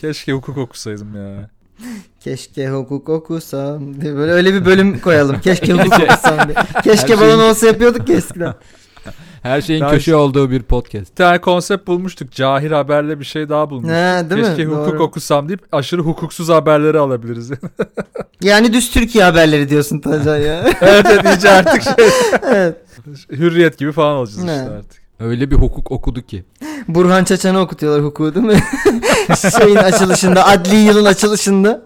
Keşke hukuk okusaydım ya. Keşke hukuk okusam diye böyle öyle bir bölüm koyalım. Keşke hukuk okusam diye. Keşke şey- Her balon şeyin- olsa yapıyorduk ya eskiden. Her şeyin Daha- köşe olduğu bir podcast. Bir tane konsept bulmuştuk. Cahil haberle bir şey daha bulmuştuk. Ha, değil Keşke mi? hukuk Doğru. okusam deyip aşırı hukuksuz haberleri alabiliriz. Yani düz Türkiye haberleri diyorsun Tancan ya. evet evet iyice artık şey, evet. hürriyet gibi falan olacağız Ne? işte artık. Öyle bir hukuk okudu ki. Burhan Çaçan'ı okutuyorlar hukuku değil mi? Şeyin açılışında, adli yılın açılışında.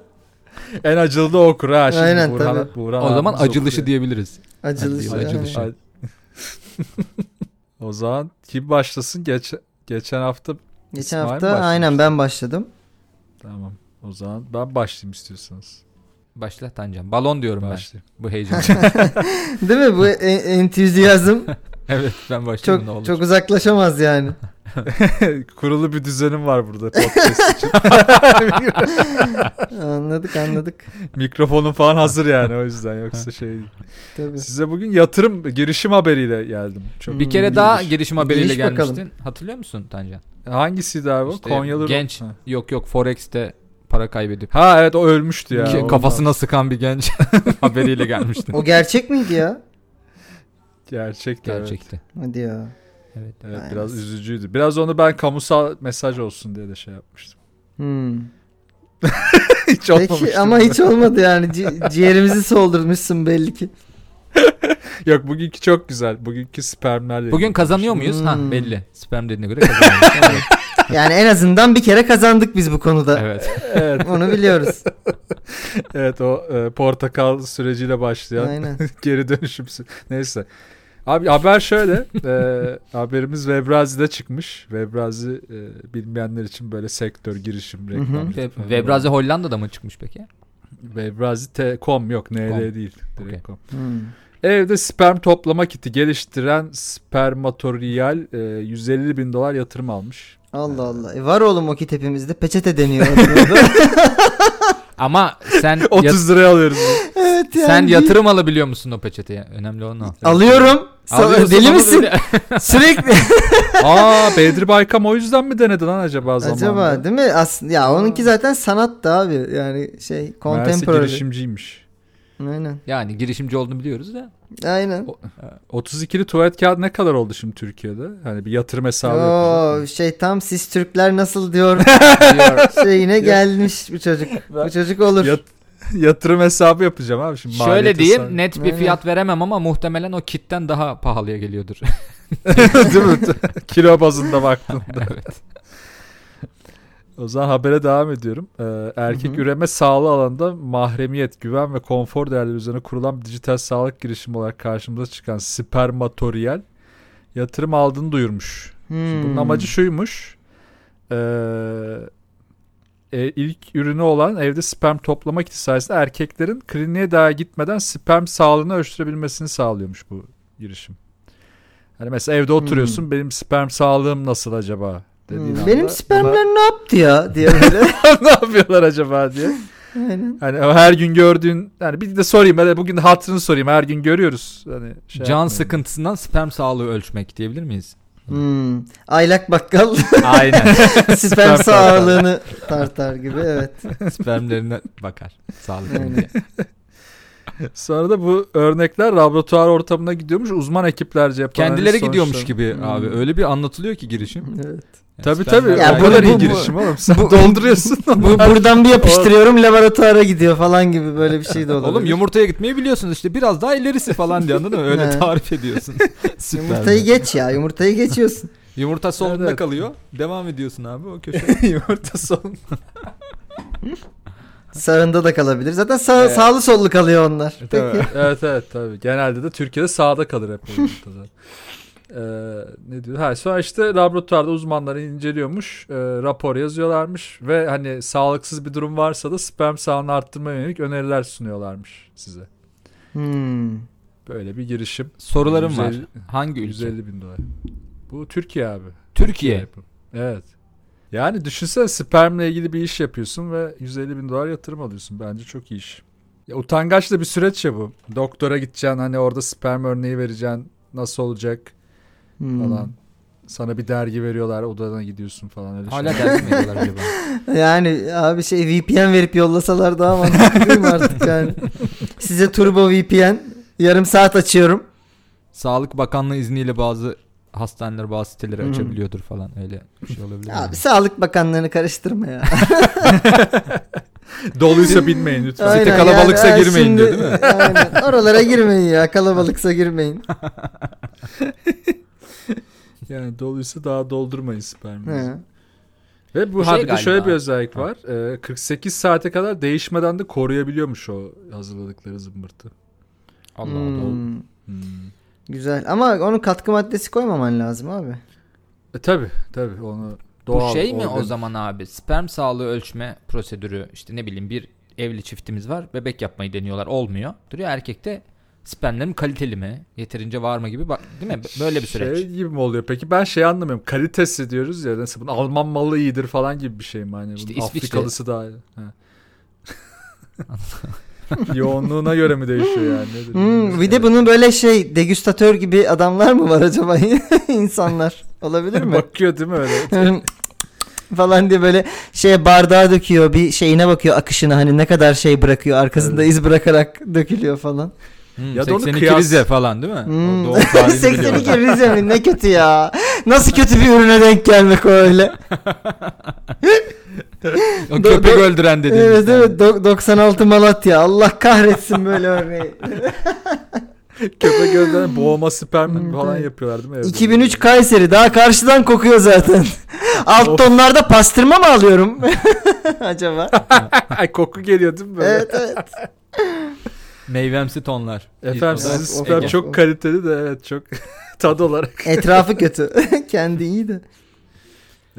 En acılı da o okur ha şimdi. Aynen, Burhan, tabii. Burhan O zaman abimiz acılışı okuyor. diyebiliriz. Acılışı. Adli yıl Acılışı. acılışı. Ay- O zaman kim başlasın? Geç, geçen hafta Geçen İsmail hafta başlamış. aynen ben başladım. tamam. O zaman ben başlayayım istiyorsanız. Başla Tancan. Balon diyorum Başlayayım. ben. Bu heyecan. Değil mi? Bu en- entüzyazm evet ben başlayayım ne çok olur. çok uzaklaşamaz yani. Kurulu bir düzenim var burada podcast için. Anladık anladık. Mikrofonum falan hazır yani o yüzden yoksa şey. değil. Tabii. Size bugün yatırım girişim haberiyle geldim. Çok Hmm, Bir kere daha gelişim haberiyle Giriş gelmiştin. bakalım. Hatırlıyor musun Tancan? hangisiydi abi? o? İşte Konyalı genç. Ha. Yok yok Forex'te para kaybedip Ha evet o ölmüştü ya. ki- Ondan- kafasına sıkan bir genç haberiyle gelmiştin. O gerçek miydi ya? gerçekti. Gerçek. Gerçekti. Hadi ya. Evet. Evet, Aynen. biraz üzücüydü. Biraz onu ben kamusal mesaj olsun diye de şey yapmıştım. Hmm. hiç Peki olmamıştı. ama hiç olmadı yani. Ci- ciğerimizi soldurmuşsun belli ki. Yok bugünkü çok güzel. Bugünkü spermlerle. Bugün kazanıyor muyuz? Hmm. Ha belli. Sperm dediğine göre kazanıyoruz. Evet. Yani en azından bir kere kazandık biz bu konuda. evet. evet, Onu biliyoruz. evet o e, portakal süreciyle başlayan Aynen. geri dönüşüm. sü- Neyse. Abi haber şöyle. e, haberimiz Webrazi'de çıkmış. Webrazi e, bilmeyenler için böyle sektör, girişim, Hı hı. reklam. Ve- Webrazi Hollanda'da mı çıkmış peki? Webrazi te- com yok. NL Com. değil. Direkt Okey. com. Hmm. Evde sperm toplama kiti geliştiren Spermatorial e, 150 bin dolar yatırım almış. Allah Allah. E var oğlum o kit hepimizde. Peçete deniyor. adına. Ama sen yat- 30 liraya alıyoruz. evet yani. sen bir- yatırım alabiliyor musun o peçeteye? Önemli olan o. Alıyorum. Sa- Alıyorsun deli ama misin? böyle- Sürekli. Aa Bedri Baykam o yüzden mi denedi lan acaba zamanında? Acaba değil mi? Aslında Hmm. ya onunki zaten sanat da abi. Yani şey Meğerse contemporary. girişimciymiş. Aynen. yani girişimci olduğunu biliyoruz da. Aynen. O- 32'li tuvalet kağıdı ne kadar oldu şimdi Türkiye'de? Hani bir yatırım hesabı Oo, yapacak. şey tam siz Türkler nasıl diyor diyor. şeyine gelmiş bu çocuk. Bu çocuk olur. Yat- yatırım hesabı yapacağım abi şimdi. Şöyle maliyet diyeyim hesabı. net bir Aynen. fiyat veremem ama muhtemelen o kitten daha pahalıya geliyordur. Şey Değil mi? Kilo bazında baktığında. evet. O zaman habere devam ediyorum. Ee, erkek Hı hı. üreme sağlığı alanında mahremiyet, güven ve konfor değerleri üzerine kurulan bir dijital sağlık girişimi olarak karşımıza çıkan Spermatorial yatırım aldığını duyurmuş. Şimdi Bunun Hmm. amacı şuymuş. Ee, e, ilk ürünü olan evde sperm toplama kiti sayesinde erkeklerin kliniğe daha gitmeden sperm sağlığını ölçtürebilmesini sağlıyormuş bu girişim. Hani mesela evde oturuyorsun benim sperm sağlığım nasıl acaba dediğin Hmm, anda Benim ona spermler ne yaptı ya diye böyle. ne yapıyorlar acaba diye. Aynen. Hani her gün gördüğün hani bir de sorayım hadi bugün de hatırını sorayım her gün görüyoruz. Hani şey Can yapmayın. sıkıntısından sperm sağlığı ölçmek diyebilir miyiz? Hmm. Aylak bakkal Aynen. sperm sağlığını tartar gibi evet. Spermlerine bakar. Sağlık. Aynen. diye. Sonra da bu örnekler laboratuvar ortamına gidiyormuş uzman ekiplerce hani yapılan Kendileri analiz gidiyormuş sonuçları- gibi Hmm. abi. Öyle bir anlatılıyor ki girişim. evet. Yani Tabii sperm- tabii. Ya o bu- kadar bu- iyi bu- girişim oğlum. Sen bu- dolduruyorsun. Bu, buradan bir yapıştırıyorum laboratuvara gidiyor falan gibi böyle bir şey de olabilir. Oğlum yumurtaya gitmeyi biliyorsunuz işte biraz daha ilerisi falan diye anladın mı? Öyle He. tarif ediyorsun. Süper. Yumurtayı geç ya yumurtayı geçiyorsun. Yumurta solunda Evet. kalıyor. Devam ediyorsun abi o köşe. Yumurta son. Sağında da kalabilir. Zaten sağ, Evet. sağlı sollu kalıyor onlar. Peki. evet evet tabii. Genelde de Türkiye'de sağda kalır hep o yumurtalar. Ee, ne diyor? Ha, sonra işte laboratuvarda uzmanları inceliyormuş. e, rapor yazıyorlarmış. Ve hani sağlıksız bir durum varsa da sperm sağlığını arttırmaya yönelik öneriler sunuyorlarmış size. Hmm. Böyle bir girişim. Sorularım var. 150 Hangi ülke? 150 bin dolar. Bu Türkiye abi. Türkiye. yapımı. Şey Evet. Yani düşünsene spermle ilgili bir iş yapıyorsun ve 150 bin dolar yatırım alıyorsun. Bence çok iyi iş. Ya, utangaç da bir süreç ya bu. Doktora gideceksin hani orada sperm örneği vereceksin. Nasıl olacak Hmm. falan. Sana bir dergi veriyorlar odana gidiyorsun falan öyle Hala şeyler. dergi mi ediyorlar acaba? Yani abi şey VPN verip yollasalar daha mantıklı değil mi artık yani? Size turbo VPN yarım saat açıyorum. Sağlık Bakanlığı izniyle bazı hastaneler bazı siteleri Hı. açabiliyordur falan öyle bir şey olabilir. yani. Abi Sağlık Bakanlığı'nı karıştırma ya. Doluysa binmeyin lütfen. Aynen Site kalabalıksa yani, girmeyin şimdi- diyor değil mi? Aynen. Oralara girmeyin ya kalabalıksa girmeyin. Yani doluysa daha doldurmayın sperminizi. He. Ve bu Bu şey harbide şöyle galiba. bir özellik Ha. var. Ee, 48 saate kadar değişmeden de koruyabiliyormuş o hazırladıkları zımbırtı. Allah Allah. Hmm, Hmm. Güzel ama onun katkı maddesi koymaman lazım abi. E tabi tabi onu doğal. Bu şey mi organ- o zaman abi? Sperm sağlığı ölçme prosedürü işte ne bileyim bir evli çiftimiz var. Bebek yapmayı deniyorlar. Olmuyor. Duruyor erkekte spermlerim kaliteli mi? Yeterince var mı gibi bak değil mi? Böyle bir süreç. Şey gibi mi oluyor peki? Ben şey anlamıyorum. Kalitesi diyoruz ya. Nasıl bunun Alman malı iyidir falan gibi bir şey mi? Hani İşte bunun İsviçre. Afrikalısı daha iyi. Ha. Yoğunluğuna göre mi değişiyor yani? Nedir? Hmm, bir de Evet. bunun böyle şey degüstatör gibi adamlar mı var acaba insanlar? Olabilir mi? Bakıyor değil mi öyle? falan diye böyle şeye bardağa döküyor bir şeyine bakıyor akışına hani ne kadar şey bırakıyor arkasında iz bırakarak dökülüyor falan. Hmm, Ya da onu 82 kıyas- Rize falan değil mi? Hmm. O doğum tarihini 82 biliyorlar. Rize mi ne kötü ya. Nasıl kötü bir ürüne denk gelmek o öyle. O köpek Do- do- öldüren dediğimiz. evet yani. evet do- 96 Malatya Allah kahretsin böyle örneği. Köpek gözlerine boğma sperm Hmm, falan evet. yapıyorlar değil mi? evde? 2003 Kayseri daha karşıdan kokuyor zaten. Alt Of. tonlarda pastırma mı alıyorum acaba? Ay koku geliyor değil mi böyle? evet evet. Meyvemsi tonlar. Efendim İlk- sizin Of, of, sperm of, çok of. kaliteli de evet çok tad olarak. Etrafı kötü. Kendi iyi de.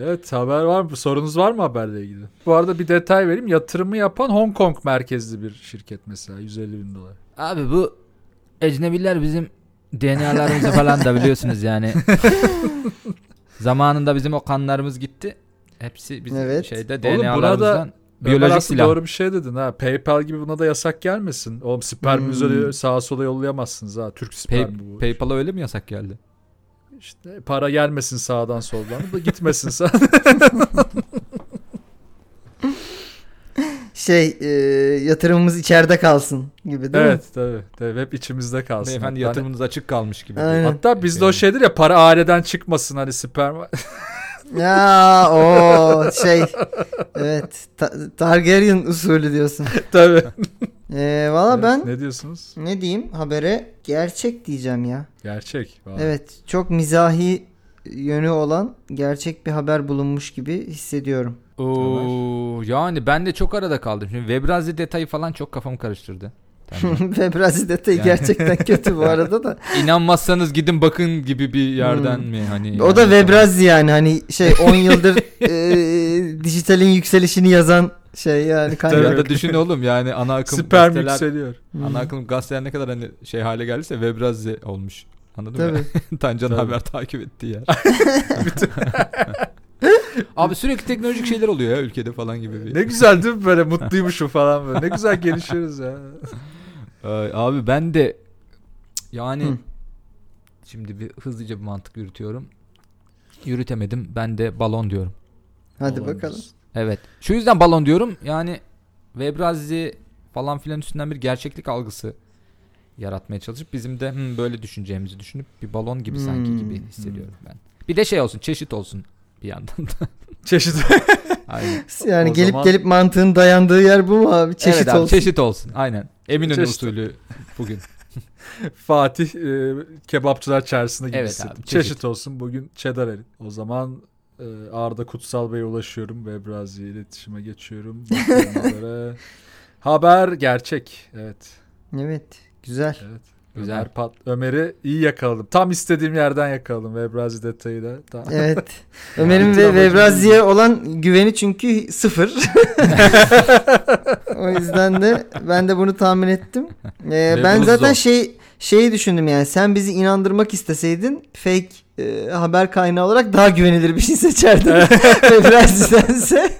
Evet haber var mı? Sorunuz var mı haberle ilgili? Bu arada bir detay vereyim. Yatırımı yapan Hong Kong merkezli bir şirket mesela 150 bin dolar. Abi bu ecnebiler bizim DNA'larımızı falan da biliyorsunuz yani. Zamanında bizim o kanlarımız gitti. Hepsi bizim Evet. şeyde Oğlum buna da DNA'larımızdan Ömer biyolojik aslında silah. doğru bir şey dedin ha. PayPal gibi buna da yasak gelmesin. Oğlum sperminizi Hmm. öyle sağa sola yollayamazsınız ha. Türk Pay- spermi bu. PayPal'a öyle mi yasak geldi? İşte para gelmesin sağdan soldan. Bu da gitmesin sağdan. Şey e, yatırımımız içeride kalsın gibi değil mi? evet tabii, tabii. Hep içimizde kalsın. Beyefendi Hatta- yatırımınız açık kalmış gibi. Aynen. Hatta bizde o şeydir ya para aileden çıkmasın hani sperm. Ya o şey. Evet. Ta- Targaryen usulü diyorsun. tabii. Ee, Valla Evet, ben Ne diyorsunuz? ne diyeyim habere gerçek diyeceğim ya. Gerçek. Vallahi. Evet çok mizahi yönü olan gerçek bir haber bulunmuş gibi hissediyorum. Oo, yani ben de çok arada kaldım. Şimdi Webrazi detayı falan çok kafamı karıştırdı. Tamam. Ve biraz detayı Yani. gerçekten kötü bu arada da. İnanmazsanız gidin bakın gibi bir yerden Hmm. mi hani? O da yani tamam. Webraz yani hani şey 10 yıldır e, dijitalin yükselişini yazan şey yani Ya kaynak. Hmm. da düşün oğlum yani ana akım Sperm gazeteler- yükseliyor. Hı. Ana akım gazeteler ne kadar hani şey hale geldiyse Webrazi olmuş. Anladın mı? Tabii. Tancan Tabii. haber takip ettiği yer. Abi sürekli teknolojik şeyler oluyor ya ülkede falan gibi. Bir. Ne güzel değil mi böyle mutluymuşum falan böyle. Ne güzel gelişiyoruz ya. Ay, Ee, abi ben de yani Hı. şimdi bir hızlıca bir mantık yürütüyorum. Yürütemedim. Ben de balon diyorum. Hadi Olabilir. bakalım. Evet. Şu yüzden balon diyorum. Yani Webrazi falan filan üstünden bir gerçeklik algısı yaratmaya çalışıp bizim de "Hmm, böyle düşüneceğimizi düşünüp bir balon gibi sanki Hmm, gibi hissediyorum ben. Bir de şey olsun, çeşit olsun bir yandan da. Çeşit. Aynen. Yani O gelip zaman- gelip mantığın dayandığı yer bu mu abi? Çeşit Evet abi, olsun. Çeşit olsun. Aynen. Eminönü Çeşit. usulü bugün. Fatih e, kebapçılar çarşısında gibi Evet hissettim. abi, çeşit. çeşit. olsun bugün çedar erit. O zaman e, Arda Kutsal Bey'e ulaşıyorum ve Brazi'ye iletişime geçiyorum. Bakıyorum habere. Haber gerçek. Evet. Evet. Güzel. evet. Güzel. Ömer Pat- Ömer'i iyi yakaladım. Tam istediğim yerden yakaladım Webrazi detayı da. Tam. Evet. Ömer'in ve Bütün amacım Vevrazi'ye olan güveni çünkü sıfır. o yüzden de ben de bunu tahmin ettim. Ee, Ve ben bunu zaten zor. şey şeyi düşündüm yani sen bizi inandırmak isteseydin fake e, haber kaynağı olarak daha güvenilir bir şey seçerdin. Vevrazi'dense.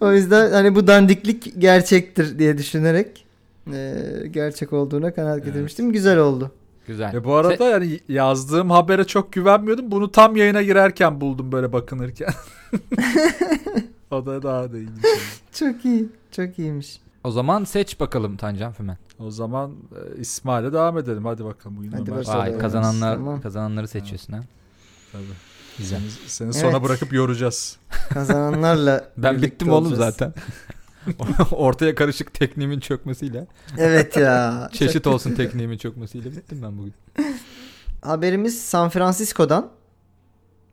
o yüzden hani bu dandiklik gerçektir diye düşünerek e, gerçek olduğuna kanaat getirmiştim. Güzel oldu. Güzel. E bu arada Se- yani yazdığım habere çok güvenmiyordum. Bunu tam yayına girerken buldum böyle bakınırken. o da daha da şey. ilginç. Çok iyi. Çok iyiymiş. o zaman seç bakalım Tancan Fümen. O zaman e, İsmail'e devam edelim. Hadi bakalım. Bugün Hadi Ömer. bakalım. Vay Güzel. kazananlar Tamam. kazananları seçiyorsun ha. Tabii. Güzel. Seni, seni sona Evet. bırakıp yoracağız. Kazananlarla Ben birlikte bittim oğlum olacağız. zaten. Ortaya karışık tekniğimin çökmesiyle. Evet ya. Çeşit olsun tekniğimin çökmesiyle bittim ben bugün. Haberimiz San Francisco'dan.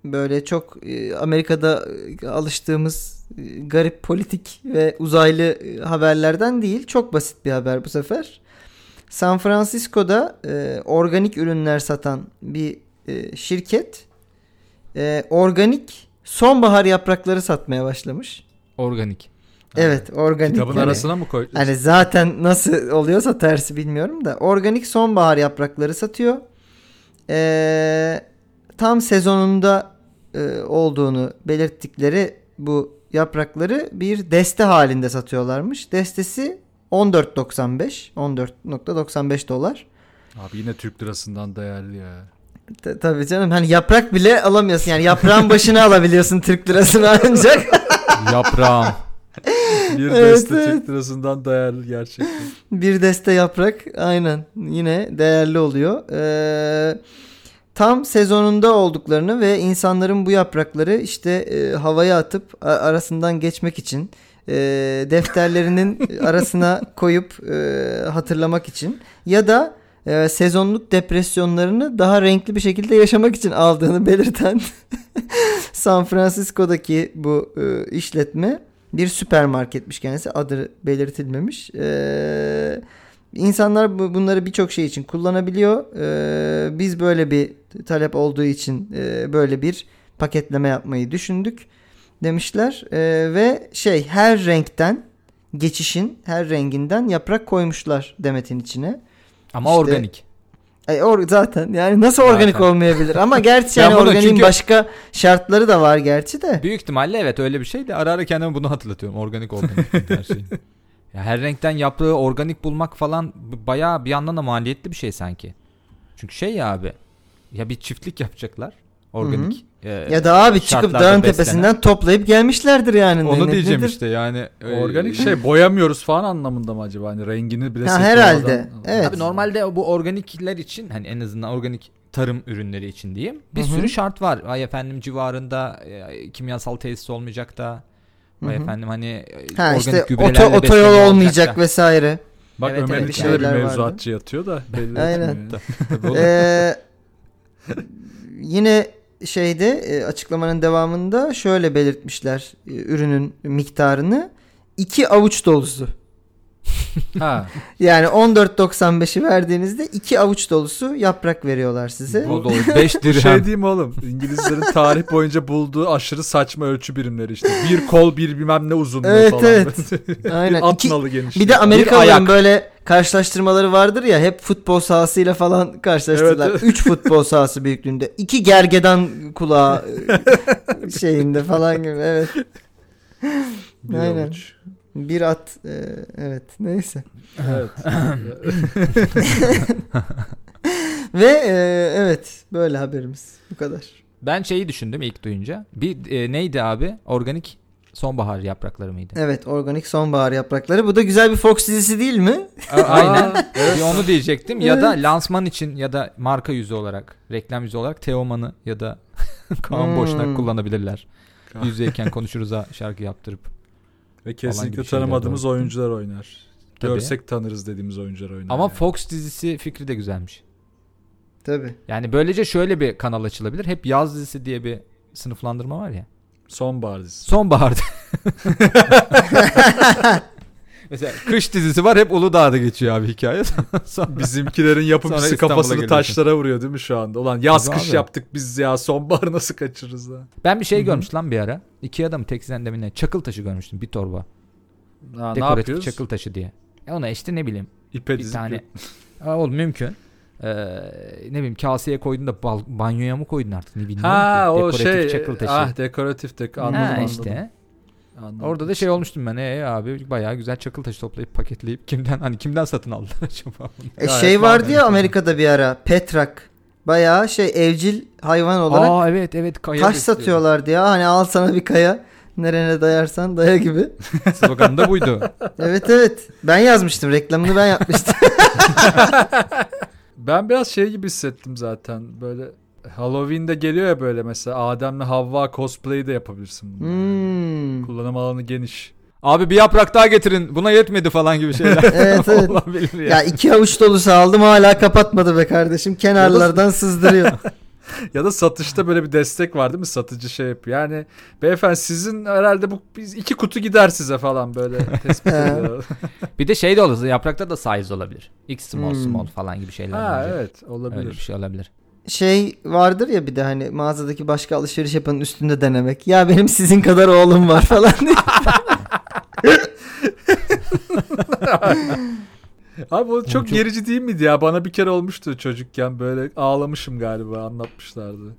Böyle çok e, Amerika'da e, alıştığımız e, garip politik ve uzaylı e, haberlerden değil. Çok basit bir haber bu sefer. San Francisco'da e, organik ürünler satan bir e, şirket e, organik sonbahar yaprakları satmaya başlamış. Organik. Evet, organik. Kitabın yani. arasına mı koy? Hani zaten nasıl oluyorsa tersi bilmiyorum da. Organik sonbahar yaprakları satıyor. Ee, tam sezonunda e, olduğunu belirttikleri bu yaprakları bir deste halinde satıyorlarmış. Destesi 14.95 14.95 dolar. Abi yine Türk lirasından değerli ya. Ta- tabii canım hani yaprak bile alamıyorsun. Yani yaprağın başına alabiliyorsun Türk lirasını ancak. Yaprağım. Bir Evet, deste evet. Türk lirasından değerli gerçekten. Bir deste yaprak aynen yine değerli oluyor. Ee, tam sezonunda olduklarını ve insanların bu yaprakları işte e, havaya atıp a- arasından geçmek için e, defterlerinin arasına koyup e, hatırlamak için ya da e, sezonluk depresyonlarını daha renkli bir şekilde yaşamak için aldığını belirten San Francisco'daki bu e, işletme bir süpermarketmiş kendisi adı belirtilmemiş. Ee, insanlar bu- bunları birçok şey için kullanabiliyor. Ee, biz böyle bir talep olduğu için e, böyle bir paketleme yapmayı düşündük demişler Ee, ve şey her renkten geçişin her renginden yaprak koymuşlar demetin içine. Ama İşte- organik. Ay, or- zaten yani nasıl organik Zaten. olmayabilir ama gerçi Ben yani bunu organiğin çünkü- başka şartları da var gerçi de. Büyük ihtimalle evet öyle bir şey de ara ara kendime bunu hatırlatıyorum. Organik organik dedi her şeyi. Ya her renkten yaprağı organik bulmak falan b- bayağı bir yandan da maliyetli bir şey sanki. Çünkü şey ya abi. Ya bir çiftlik yapacaklar. Organik. Ee, Ya da abi çıkıp şartlarda dağın beslenen. tepesinden toplayıp gelmişlerdir yani. Onu Ne- diyeceğim nedir? işte yani. e, Organik şey boyamıyoruz falan anlamında mı acaba? Hani rengini bile Ha, seçiyor herhalde. adam. Evet. Abi normalde bu organikler için hani en azından organik tarım ürünleri için diyeyim. Bir Hı hı. sürü şart var. Ay efendim civarında e, kimyasal tesis olmayacak da. Ay Hı hı. efendim hani e, Ha organik işte gübrelerle oto, otoyol besleniyor olmayacak olacak da. vesaire. Bak Evet, Ömer'in evet, içinde de bir şeyler vardı. mevzuatçı yatıyor da belli Aynen. etmiyor yani. Tabii oğlum. Ee, yine şeyde e, açıklamanın devamında şöyle belirtmişler e, ürünün miktarını. 2 avuç dolusu. Ha. Yani 14.95'i verdiğinizde 2 avuç dolusu yaprak veriyorlar size. Bu dolu 5 dirhem. Şey diyeyim oğlum. İngilizlerin tarih boyunca bulduğu aşırı saçma ölçü birimleri işte. Bir kol bir bilmem ne uzunluğu Evet, falan. evet. Aynen. Aynen. At İki- nalı genişliği. bir de Amerikalıların ayak. böyle karşılaştırmaları vardır ya hep futbol sahasıyla falan karşılaştırdılar. Evet, 3 futbol sahası büyüklüğünde. 2 gergedan kulağı e, şeyinde falan gibi. Evet. Bir Aynen. avuç. Bir at. e, evet. Neyse. Evet. Ve e, evet böyle haberimiz. Bu kadar. Ben şeyi düşündüm ilk duyunca. Bir e, neydi abi? Organik sonbahar yaprakları mıydı? Evet organik sonbahar yaprakları. Bu da güzel bir Fox dizisi değil mi? A- Aynen. Aa, Bir onu diyecektim. Ya da lansman için ya da marka yüzü olarak, reklam yüzü olarak Teoman'ı ya da Kaan Hmm. Boşnak kullanabilirler. Kaan. Yüzdeyken konuşuruz ha şarkı yaptırıp. Ve Falan kesinlikle gibi şeyler tanımadığımız doğru. oyuncular oynar. Tabii. Görsek tanırız dediğimiz oyuncular oynar. Ama yani. Fox dizisi fikri de güzelmiş. Tabii. Yani böylece şöyle bir kanal açılabilir. Hep yaz dizisi diye bir sınıflandırma var ya. Sonbahar dizisi. Sonbaharda. Mesela kış dizisi var hep Uludağ'da geçiyor abi hikaye. Sonra- Bizimkilerin yapımcısı Sonra İstanbul'a kafasını geliyorsun. taşlara vuruyor değil mi şu anda? Ulan yaz Tabii kış abi. yaptık biz ya sonbahar nasıl kaçırırız ha? ben bir şey görmüş lan bir ara. İki adam teksiden demine çakıl taşı görmüştüm bir torba. Ha, ne Dekoratif yapıyoruz? çakıl taşı diye. E ona işte ne bileyim İpe bir dizip tane. Aa, oğlum mümkün. Ee, ne bileyim kaseye koydun da bal- banyoya mı koydun artık ne bilmiyorum Ha ki. o Dekoratif şey çakıl taşı. ah dekoratif dek Ha, anladım ha anladım. işte. Anladım. Orada da şey olmuştum ben. Ee abi bayağı güzel çakıl taşı toplayıp paketleyip kimden hani kimden satın aldılar acaba? bunu? E, Gayet şey vardı normal. ya Amerika'da bir ara. Petrak. Bayağı şey evcil hayvan olarak Aa evet evet kaya taş besliyorlar. satıyorlardı ya. Hani al sana bir kaya. Nerene dayarsan daya gibi. Sloganı da buydu. evet evet. Ben yazmıştım. Reklamını ben yapmıştım. Ben biraz şey gibi hissettim zaten. Böyle Halloween'de geliyor ya böyle mesela Adem'le Havva cosplay'i de yapabilirsin. bunu. Hmm. Kullanım alanı geniş. Abi bir yaprak daha getirin. Buna yetmedi falan gibi şeyler. Evet, evet. Olabilir ya. Ya iki avuç dolusu aldım hala kapatmadı be kardeşim. Kenarlardan sızdırıyor. Ya da satışta böyle bir destek var değil mi? Satıcı şey yapıyor. Yani beyefendi sizin herhalde bu biz iki kutu gider size falan böyle tespit Evet. ediyor. Bir de şey de olur. Yaprakta da size olabilir. X small Hmm. small falan gibi şeyler. ha bence. evet olabilir. Öyle bir şey olabilir. Şey vardır ya bir de hani mağazadaki başka alışveriş yapanın üstünde denemek. Ya benim sizin kadar oğlum var falan diye. Abi bu çok çok- gerici değil miydi ya? Bana bir kere olmuştu çocukken böyle ağlamışım galiba anlatmışlardı.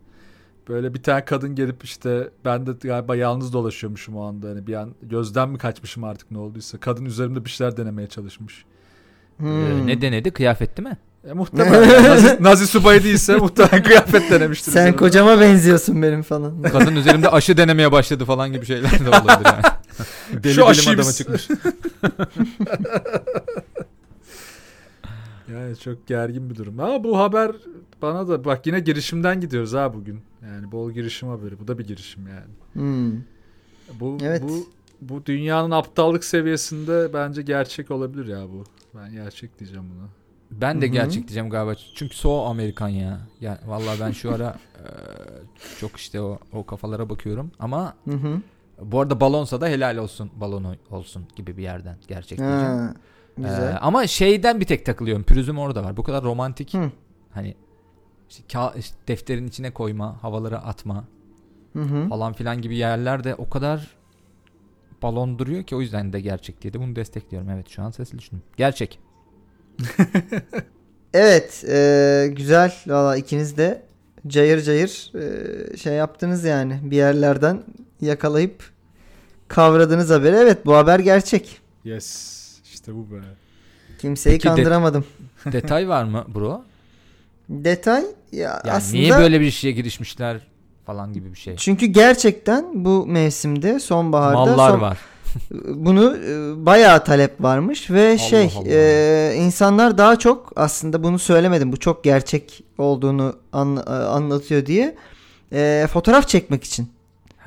Böyle bir tane kadın gelip işte ben de galiba yalnız dolaşıyormuşum o anda. Hani bir an gözden mi kaçmışım artık ne olduysa. Kadın üzerimde bir şeyler denemeye çalışmış. Ee, Hmm. ne denedi? Kıyafetti mi? E, muhtemelen Nazi, Nazi subayı değilse muhtemelen kıyafet denemiştir. Sen üzerimde. kocama benziyorsun benim falan. Kadın üzerimde aşı denemeye başladı falan gibi şeyler de olabilir yani. Deli Şu bilim aşıyı adamı biz- çıkmış. Yani çok gergin bir durum. Ama bu haber bana da bak yine girişimden gidiyoruz ha bugün. Yani bol girişim haberi. Bu da bir girişim yani. Hmm. Bu Evet. bu bu dünyanın aptallık seviyesinde bence gerçek olabilir ya bu. Ben gerçek diyeceğim buna. Ben de Hı hı. gerçek diyeceğim galiba. Çünkü so Amerikan ya. Yani vallahi ben şu ara e, çok işte o, o kafalara bakıyorum ama Hı hı. bu arada balonsa da helal olsun balonu olsun gibi bir yerden gerçek diyeceğim. Ha, Ee, güzel. ama şeyden bir tek takılıyorum. Pürüzüm orada var. Bu kadar romantik. Hı. Hani işte ka- işte defterin içine koyma, havalara atma Hı hı. falan filan gibi yerlerde o kadar balon duruyor ki o yüzden de gerçek diye de bunu destekliyorum. Evet şu an sesli düşündüm. Gerçek. Evet, e, güzel. Valla ikiniz de cayır cayır e, şey yaptınız yani. Bir yerlerden yakalayıp kavradınız haberi. Evet, bu haber gerçek. Yes. işte bu be. Kimseyi Peki de- kandıramadım. Detay var mı bro? Detay ya Yani aslında niye böyle bir şeye girişmişler falan gibi bir şey. çünkü gerçekten bu mevsimde sonbaharda Mallar son- var. bunu e, bayağı talep varmış ve şey Allah. e, insanlar daha çok aslında bunu söylemedim bu çok gerçek olduğunu an- e, anlatıyor diye e, fotoğraf çekmek için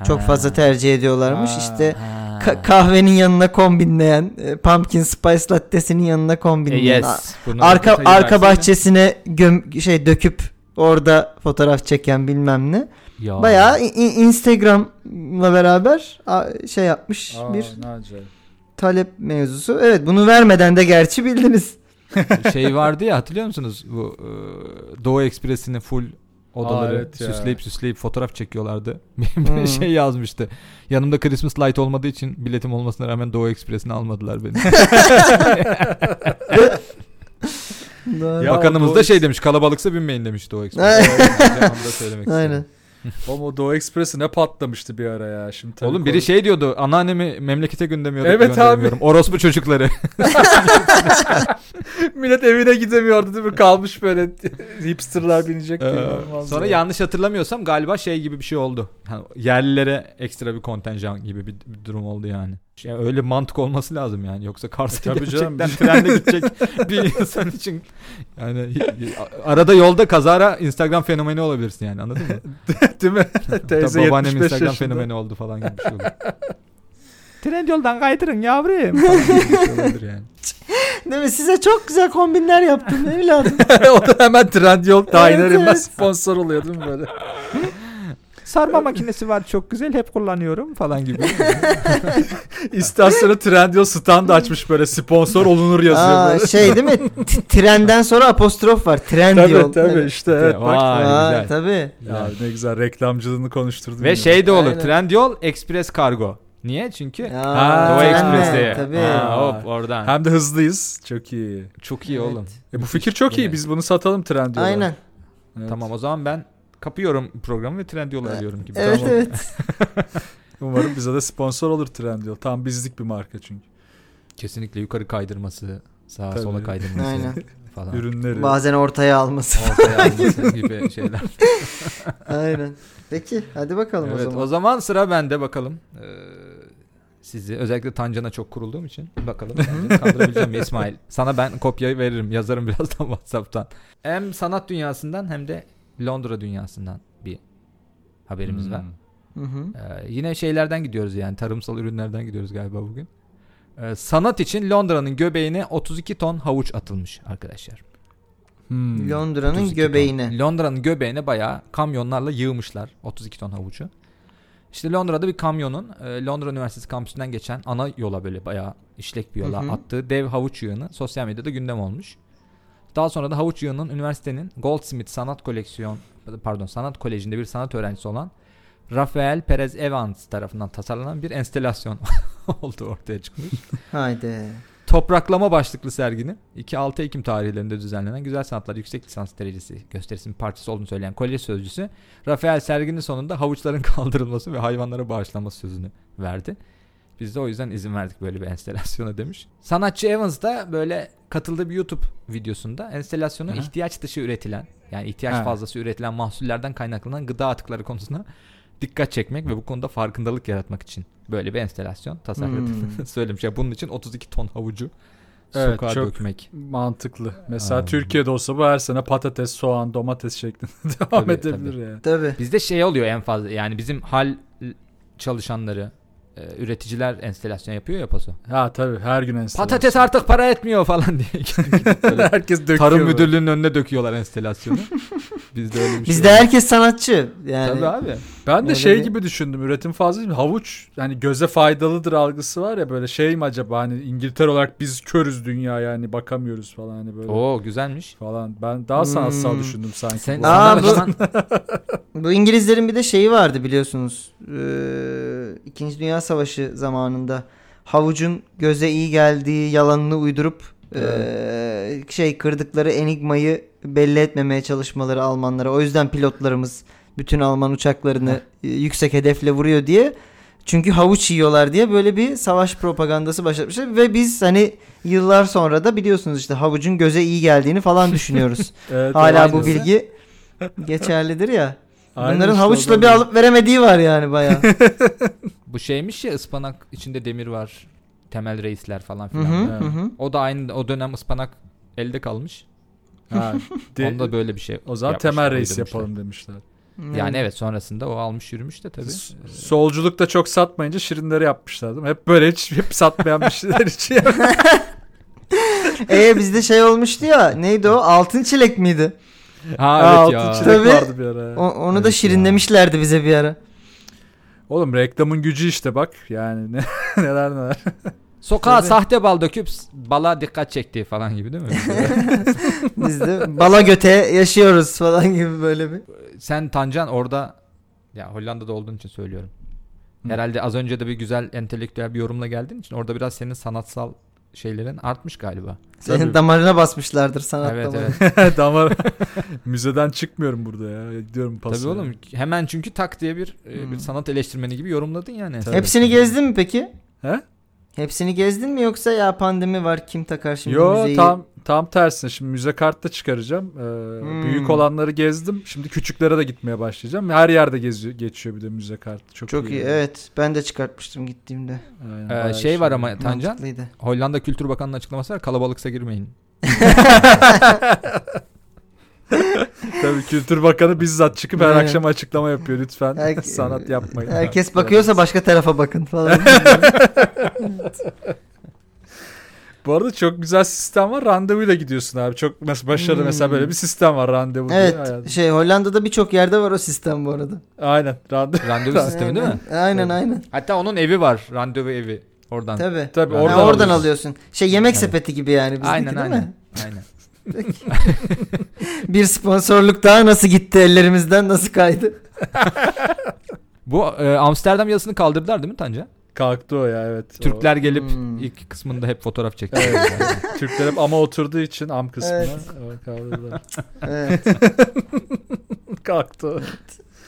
çok Ha. fazla tercih ediyorlarmış Ha. işte Ha. ka- kahvenin yanına kombinleyen e, pumpkin spice latte'sinin yanına E, kombinleyen a- yes. Bunun arka detayı arka versene. bahçesine göm- şey döküp orada fotoğraf çeken bilmem ne Ya. bayağı i- i- Instagram'la beraber a- şey yapmış bir ne acayip. talep mevzusu. Evet bunu vermeden de gerçi bildiniz. şey vardı ya hatırlıyor musunuz bu e, Doğu Ekspresi'nin full odaları Aa, evet ya. süsleyip süsleyip fotoğraf çekiyorlardı. Bir bir Hı. şey yazmıştı. Yanımda Christmas light olmadığı için biletim olmasına rağmen Doğu Ekspresi'ni almadılar beni. Doğru. Ya, Bakanımız Doğu da Eks- şey demiş kalabalıksa binmeyin demiş Doğu Evet. Ekspresi'ne. Onu da söylemek Aynen. Aynen. Oğlum o Doğu Ekspresi ne patlamıştı bir ara ya. Şimdi tabii Oğlum biri konu- şey diyordu anneannemi memlekete gönderiyorum. Evet abi. gönderemiyorum. Orospu çocukları. millet evine gidemiyordu değil mi? Kalmış böyle hipsterlar binecek diye. Ee, İnanılmaz sonra ya. yanlış hatırlamıyorsam galiba şey gibi bir şey oldu. Yani yerlilere ekstra bir kontenjan gibi bir, bir durum oldu yani. Şey, öyle mantık olması lazım yani. Yoksa E, Kars'a tabii gerçekten canım. trenle gidecek bir insan için yani y- y- arada yolda kazara Instagram fenomeni olabilirsin yani anladın mı? değil mi? Teyze Tabii babaannem 75 Instagram yaşında. fenomeni oldu falan gibi bir şey oldu. Tren yoldan kaydırın yavrum. falan gibi bir şey olabilir yani. Değil mi? Size çok güzel kombinler yaptım evladım. o da hemen Trendyol Diner Evet, evet. inmez sponsor oluyor değil mi böyle? Sarma makinesi var çok güzel hep kullanıyorum falan gibi. İstasyonu Trendyol stand açmış böyle sponsor olunur yazıyor Hmm. Aa, böyle. şey değil mi? T- trenden sonra apostrof var. Tren Tabii diyor. tabii işte evet bak. Vay, Aa, güzel. tabii. Ya ne güzel reklamcılığını konuşturdun. Ve yine. şey de olur. Aynen. Trendyol Express Kargo. Niye? Çünkü Ya, Ha, Doğu trenle, Ekspresi'ye. Tabii. Ha, hop oradan. hem de hızlıyız. Çok iyi. Çok iyi Evet. oğlum. E, bu fikir çok iyi. Biz bunu satalım Trendyol'a. Aynen. Evet. Tamam o zaman ben kapıyorum programı ve Trendyol'u arıyorum gibi. Evet Tamam. evet. Umarım bize de sponsor olur Trendyol. Tam bizlik bir marka çünkü. Kesinlikle yukarı kaydırması, sağa Tabii. sola kaydırması Aynen. falan. Ürünleri. Bazen ortaya alması. Ortaya alması gibi şeyler. Aynen. Peki hadi bakalım evet, o zaman. sıra bende bakalım. Ee, sizi özellikle Tancan'a çok kurulduğum için bakalım Tancan'ı kandırabileceğim mi İsmail? Sana ben kopyayı veririm. Yazarım birazdan WhatsApp'tan. Hem sanat dünyasından hem de Londra dünyasından bir Hmm. haberimiz var. Hı hı. Ee, yine şeylerden gidiyoruz yani tarımsal ürünlerden gidiyoruz galiba bugün. Ee, sanat için Londra'nın göbeğine 32 ton havuç atılmış arkadaşlar. Hmm. Londra'nın 32 göbeğine. ton. Londra'nın göbeğine bayağı kamyonlarla yığmışlar 32 ton havucu. İşte Londra'da bir kamyonun e, Londra Üniversitesi kampüsünden geçen ana yola böyle bayağı işlek bir yola Hı hı. attığı dev havuç yığını sosyal medyada gündem olmuş. Daha sonra da havuç yığının üniversitenin Goldsmith Sanat Koleksiyon pardon Sanat Koleji'nde bir sanat öğrencisi olan Rafael Perez Evans tarafından tasarlanan bir enstelasyon olduğu ortaya çıkmış. Haydi. Topraklama başlıklı serginin 2-6 Ekim tarihlerinde düzenlenen Güzel Sanatlar Yüksek Lisans Derecesi gösterisinin parçası olduğunu söyleyen kolye sözcüsü Rafael serginin sonunda havuçların kaldırılması ve hayvanlara bağışlanması sözünü verdi. Biz de o yüzden izin verdik böyle bir enstelasyona demiş. Sanatçı Evans da böyle katıldığı bir YouTube videosunda enstelasyonu Aha. ihtiyaç dışı üretilen yani ihtiyaç Ha. fazlası üretilen mahsullerden kaynaklanan gıda atıkları konusuna dikkat çekmek ve bu konuda farkındalık yaratmak için böyle bir enstelasyon tasarladı. Hmm. Söylemiş ya bunun için 32 ton havucu Evet, sokağa çok- dökmek. Mantıklı. Mesela Aynen. Türkiye'de olsa bu her sene patates, soğan, domates şeklinde devam Tabii, edebilir yani. Tabii. Bizde şey oluyor en fazla yani bizim hal çalışanları e, üreticiler enstelasyon yapıyor ya paso. Ha tabii her gün enstelasyon. Patates artık para etmiyor falan diye. Böyle Herkes döküyor. Tarım böyle. müdürlüğünün önüne döküyorlar enstelasyonu. Bizde öyle bir şey. Bizde yok. herkes sanatçı. Yani Tabii abi. Ben de Öyle şey bir- gibi düşündüm. Üretim fazla değil mi? Havuç yani göze faydalıdır algısı var ya böyle şey mi acaba hani İngiltere olarak biz körüz dünya yani bakamıyoruz falan hani böyle Oo güzelmiş. falan. Ben daha sanatsal Hmm. düşündüm sanki. Sen, bu. Aa, sana bu- açıdan- Bu İngilizlerin bir de şeyi vardı biliyorsunuz. Ee, İkinci Dünya Savaşı zamanında havucun göze iyi geldiği yalanını uydurup ee, şey kırdıkları enigmayı belli etmemeye çalışmaları Almanlara. O yüzden pilotlarımız bütün Alman uçaklarını e, yüksek hedefle vuruyor diye. Çünkü havuç yiyorlar diye böyle bir savaş propagandası başlatmışlar ve biz hani yıllar sonra da biliyorsunuz işte havucun göze iyi geldiğini falan düşünüyoruz. Evet, Hala aynen. bu bilgi geçerlidir ya. Aynen Bunların işte havuçla oradan bir geldi. alıp veremediği var yani baya. bu şeymiş ya ıspanak içinde demir var. Temel reisler falan Hı filan. hı, Evet. hı hı. O da aynı o dönem ıspanak elde kalmış. Ha, de- Onda böyle bir şey. o zaman yapmışlar, temel reis uydurmuşlar. yapalım demişler. Yani evet sonrasında o almış yürümüş de tabii. S- Ee, Solculuk da çok satmayınca şirinleri yapmışlar değil mi? Hep böyle hiç hep satmayan bir şeyler için. Ee bizde şey olmuştu ya. Neydi o? Altın çilek miydi? Ha Altın evet ya. çilek Tabii. vardı bir ara. O- onu Evet da ya. şirinlemişlerdi bize bir ara. Oğlum reklamın gücü işte bak. Yani ne, neler neler. Sokağa Tabii. sahte bal döküp s- bala dikkat çekti falan gibi değil mi? Bizde bala göte yaşıyoruz falan gibi böyle bir. Sen Tancan orada ya Hollanda'da olduğun için söylüyorum. Hı. Herhalde az önce de bir güzel entelektüel bir yorumla geldiğin için orada biraz senin sanatsal şeylerin artmış galiba. Senin Tabii. Şey, damarına basmışlardır sanat evet damarı. evet. Damar müzeden çıkmıyorum burada ya. Gidiyorum pasaya. Tabii oğlum hemen çünkü tak diye bir, e, bir Hı. sanat eleştirmeni gibi yorumladın yani. E, Tabii. Hepsini gezdin mi peki? He? Hepsini gezdin mi yoksa ya pandemi var kim takar şimdi Yo müzeyi? tam tam tersine şimdi müze kart da çıkaracağım. Ee, Hmm. Büyük olanları gezdim. Şimdi küçüklere de gitmeye başlayacağım. Her yerde geziyor, geçiyor bir de müze kartı. Çok, Çok iyi yani. evet. Ben de çıkartmıştım gittiğimde. Aynen, Ee, bayağı şey var ama Tancan Mantıklıydı. Hollanda Kültür Bakanı'nın açıklaması var kalabalıksa girmeyin. Tabii Kültür Bakanı bizzat çıkıp her Evet. akşam açıklama yapıyor. Lütfen Her- sanat yapmayın. Herkes bakıyorsa başka tarafa bakın falan. Bu arada çok güzel sistem var. Randevuyla gidiyorsun abi. Çok nasıl başarılı Hmm. mesela böyle bir sistem var randevu diye. evet Hayatım. şey Hollanda'da birçok yerde var o sistem bu arada. Aynen. Randevu. Randevu sistemi değil mi? Aynen, Aynen Tabii. aynen. Hatta onun evi var. Randevu evi. Oradan. Tabii. Tabii Ha, Ha, oradan, oradan alıyorsun. alıyorsun. Şey yemek Evet. sepeti gibi yani bizdeki Aynen değil aynen. mi? aynen. Bir sponsorluk daha nasıl gitti ellerimizden nasıl kaydı? Bu e, Amsterdam yazısını kaldırdılar değil mi Tanca? Kalktı o ya evet. O- Türkler gelip Hmm. ilk kısmında hep fotoğraf çekti. Evet. Türkler hep ama oturduğu için am kısmına Evet. evet. kaldırdılar. Evet. Kalktı.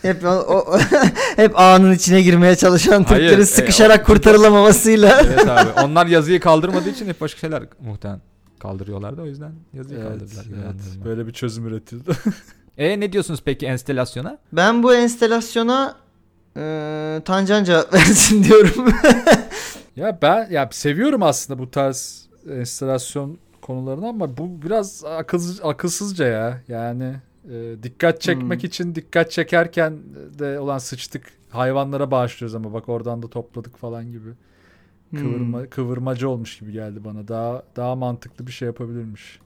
Hep o, o- hep ağanın içine girmeye çalışan Hayır, Türklerin e, sıkışarak o- kurtarılamamasıyla. Evet abi. Onlar yazıyı kaldırmadığı için hep başka şeyler muhtemelen kaldırıyorlardı. O yüzden yazıyı Evet, kaldırdılar. evet. inandırma. Böyle bir çözüm üretildi. E ne diyorsunuz peki enstelasyona? Ben bu enstalasyona eee Tancan cevap versin diyorum. Ya ben ya seviyorum aslında bu tarz enstalasyon konularını ama bu biraz akıl, akılsızca ya. Yani e, dikkat çekmek için dikkat çekerken de olan sıçtık hayvanlara bağışlıyoruz ama bak oradan da topladık falan gibi. Kıvırma, kıvırmacı olmuş gibi geldi bana. Daha daha mantıklı bir şey yapabilirmiş.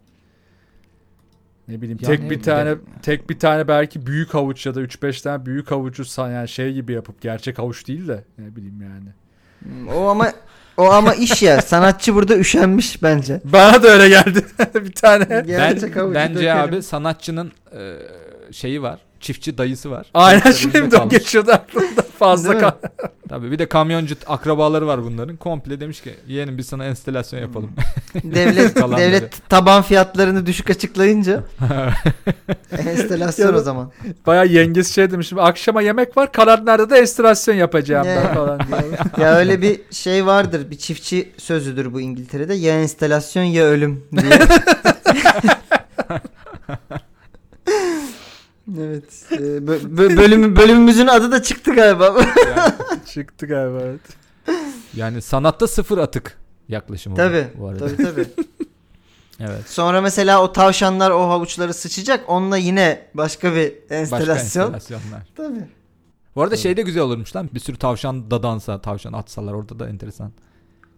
Ne bileyim Yani tek bir bir de- tane tek bir tane belki büyük havuç ya da 3-5 tane büyük havucu san- yani şey gibi yapıp gerçek havuç değil de ne bileyim yani. Hmm, O ama o ama iş ya. Sanatçı burada üşenmiş bence. Bana da öyle geldi. bir tane. Gerçek ben, havucu bence dökelim. abi sanatçının e, şeyi var. Çiftçi dayısı var. Aynen Çiftçi şimdi o kalmış. geçiyordu aklımda fazla Değil mi? kal. Tabii bir de kamyoncu akrabaları var bunların. Komple demiş ki yeğenim biz sana enstelasyon yapalım. Devlet Kalan devlet taban fiyatlarını düşük açıklayınca Ya enstalasyon da- o zaman. Baya yengesi şey demiş. şimdi Akşama yemek var. Kalanlarda da estirasyon yapacağım ben Ya. falan diye. Ya öyle bir şey vardır. Bir çiftçi sözüdür bu İngiltere'de. Ya enstalasyon ya ölüm diye. Evet. e, bö- bö- bölümü- bölümümüzün adı da çıktı galiba. Çıktı galiba evet. yani sanatta sıfır atık yaklaşımı bu- tabii. bu arada. Tabii tabii. Evet. Sonra mesela o tavşanlar o havuçları sıçacak. Onunla yine başka bir Başka enstalasyon. enstelasyonlar. Tabii. Bu arada şey de güzel olurmuş lan. Bir sürü tavşan dadansa, tavşan atsalar orada da enteresan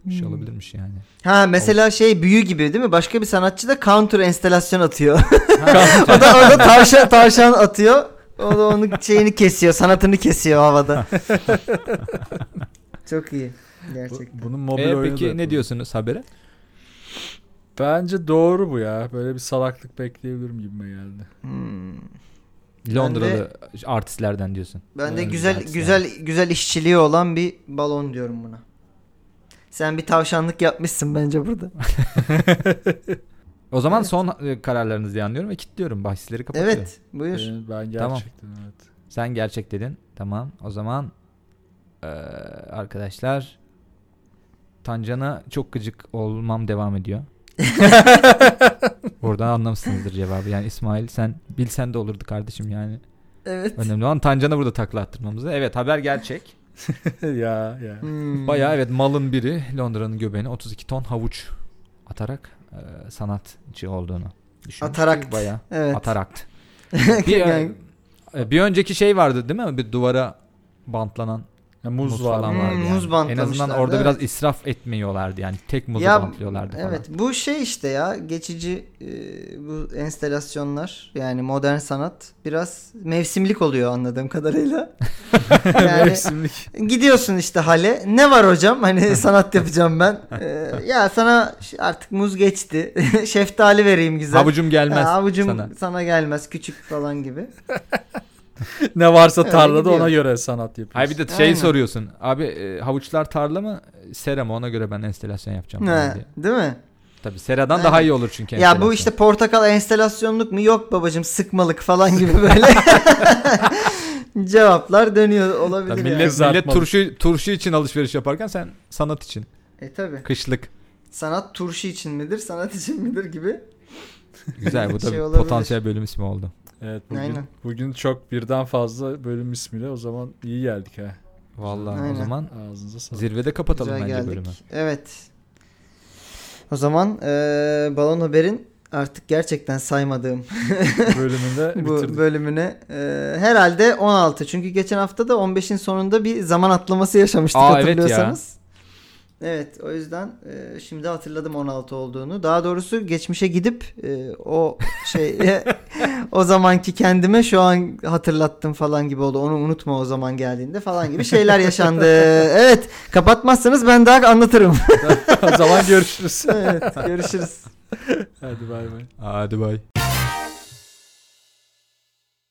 bir şey Hmm. olabilirmiş yani. Ha mesela şey büyü gibi değil mi? Başka bir sanatçı da counter enstalasyon atıyor. Ha, o da, o da tavşan, tavşan atıyor. O da onun şeyini kesiyor. Sanatını kesiyor havada. Çok iyi. Bu- Gerçekten. Bunun mobil e, oyunu da peki yapıldı. ne diyorsunuz habere? Bence doğru bu ya. Böyle bir salaklık bekleyebilirim gibime geldi. Hmm. Londralı artistlerden diyorsun. Ben de Yani güzel artistler. güzel güzel işçiliği olan bir balon diyorum buna. Sen bir tavşanlık yapmışsın bence burada. O zaman son e, kararlarınız diye anlıyorum ve kilitliyorum. Bahisleri kapatıyorum. Evet, buyur. Ee, Ben Tamam. gerçekten evet. Sen gerçek dedin. Tamam. O zaman eee, arkadaşlar Tancan'a çok gıcık olmam devam ediyor. Buradan anlamışsınızdır cevabı. Yani İsmail sen bilsen de olurdu kardeşim yani. Evet. Önemli olan Tancan'a burada takla attırmamız. Evet haber gerçek. ya ya. Hmm. Bayağı evet malın biri Londra'nın göbeğine 32 ton havuç atarak eee, sanatçı olduğunu düşünmüş. Atarakt. Bayağı. Evet. Atarakt. bir, Yani- e, bir önceki şey vardı değil mi? Bir duvara bantlanan Ya muz, muz, var. falan Hmm, vardı. yani. muz en bantlamışlardı, azından orada evet. biraz israf etmiyorlardı yani. Tek muzu Ya, bantlıyorlardı falan. Evet bu şey işte ya geçici e, bu enstalasyonlar yani modern sanat biraz mevsimlik oluyor anladığım kadarıyla. yani Mevsimlik. gidiyorsun işte hale ne var hocam hani sanat yapacağım ben. E, ya sana ş- artık muz geçti şeftali vereyim güzel. Havucum gelmez Ha, havucum sana. gelmez küçük falan gibi. ne varsa Öyle tarlada gidiyor. ona göre sanat yapıyorsun. Hayır bir de şey Aynen. soruyorsun. Abi e, havuçlar tarla mı? Sera mı? Ona göre ben enstelasyon yapacağım. falan Ha, diye. değil mi? Tabii seradan Aynen. daha iyi olur çünkü Ya bu enstelasyon. işte portakal enstalasyonluk mu? Yok babacım sıkmalık falan gibi böyle cevaplar dönüyor olabilir. Tabii yani. millet, millet Kızartmalı. turşu, turşu için alışveriş yaparken sen sanat için. E tabi. Kışlık. Sanat turşu için midir, sanat için midir gibi. Güzel bu da Şey bir olabilir. potansiyel bölüm ismi oldu. Evet bugün, Aynen. bugün çok birden fazla bölüm ismiyle o zaman iyi geldik ha. Vallahi Aynen. o zaman Ağzınıza sağlık. zirvede kapatalım Güzel bence geldik. bölümü. Evet. O zaman eee, Balon Haber'in artık gerçekten saymadığım bölümünde E, bitirdik. bu bölümüne eee, herhalde 16. Çünkü geçen hafta da 15'in sonunda bir zaman atlaması yaşamıştık Aa, evet ya. hatırlıyorsanız. Evet o yüzden eee, şimdi hatırladım 16 olduğunu. Daha doğrusu geçmişe gidip eee, o şey o zamanki kendime şu an hatırlattım falan gibi oldu. Onu unutma o zaman geldiğinde falan gibi şeyler yaşandı. evet kapatmazsanız ben daha anlatırım. o zaman görüşürüz. evet görüşürüz. Hadi bay bay. Hadi bay.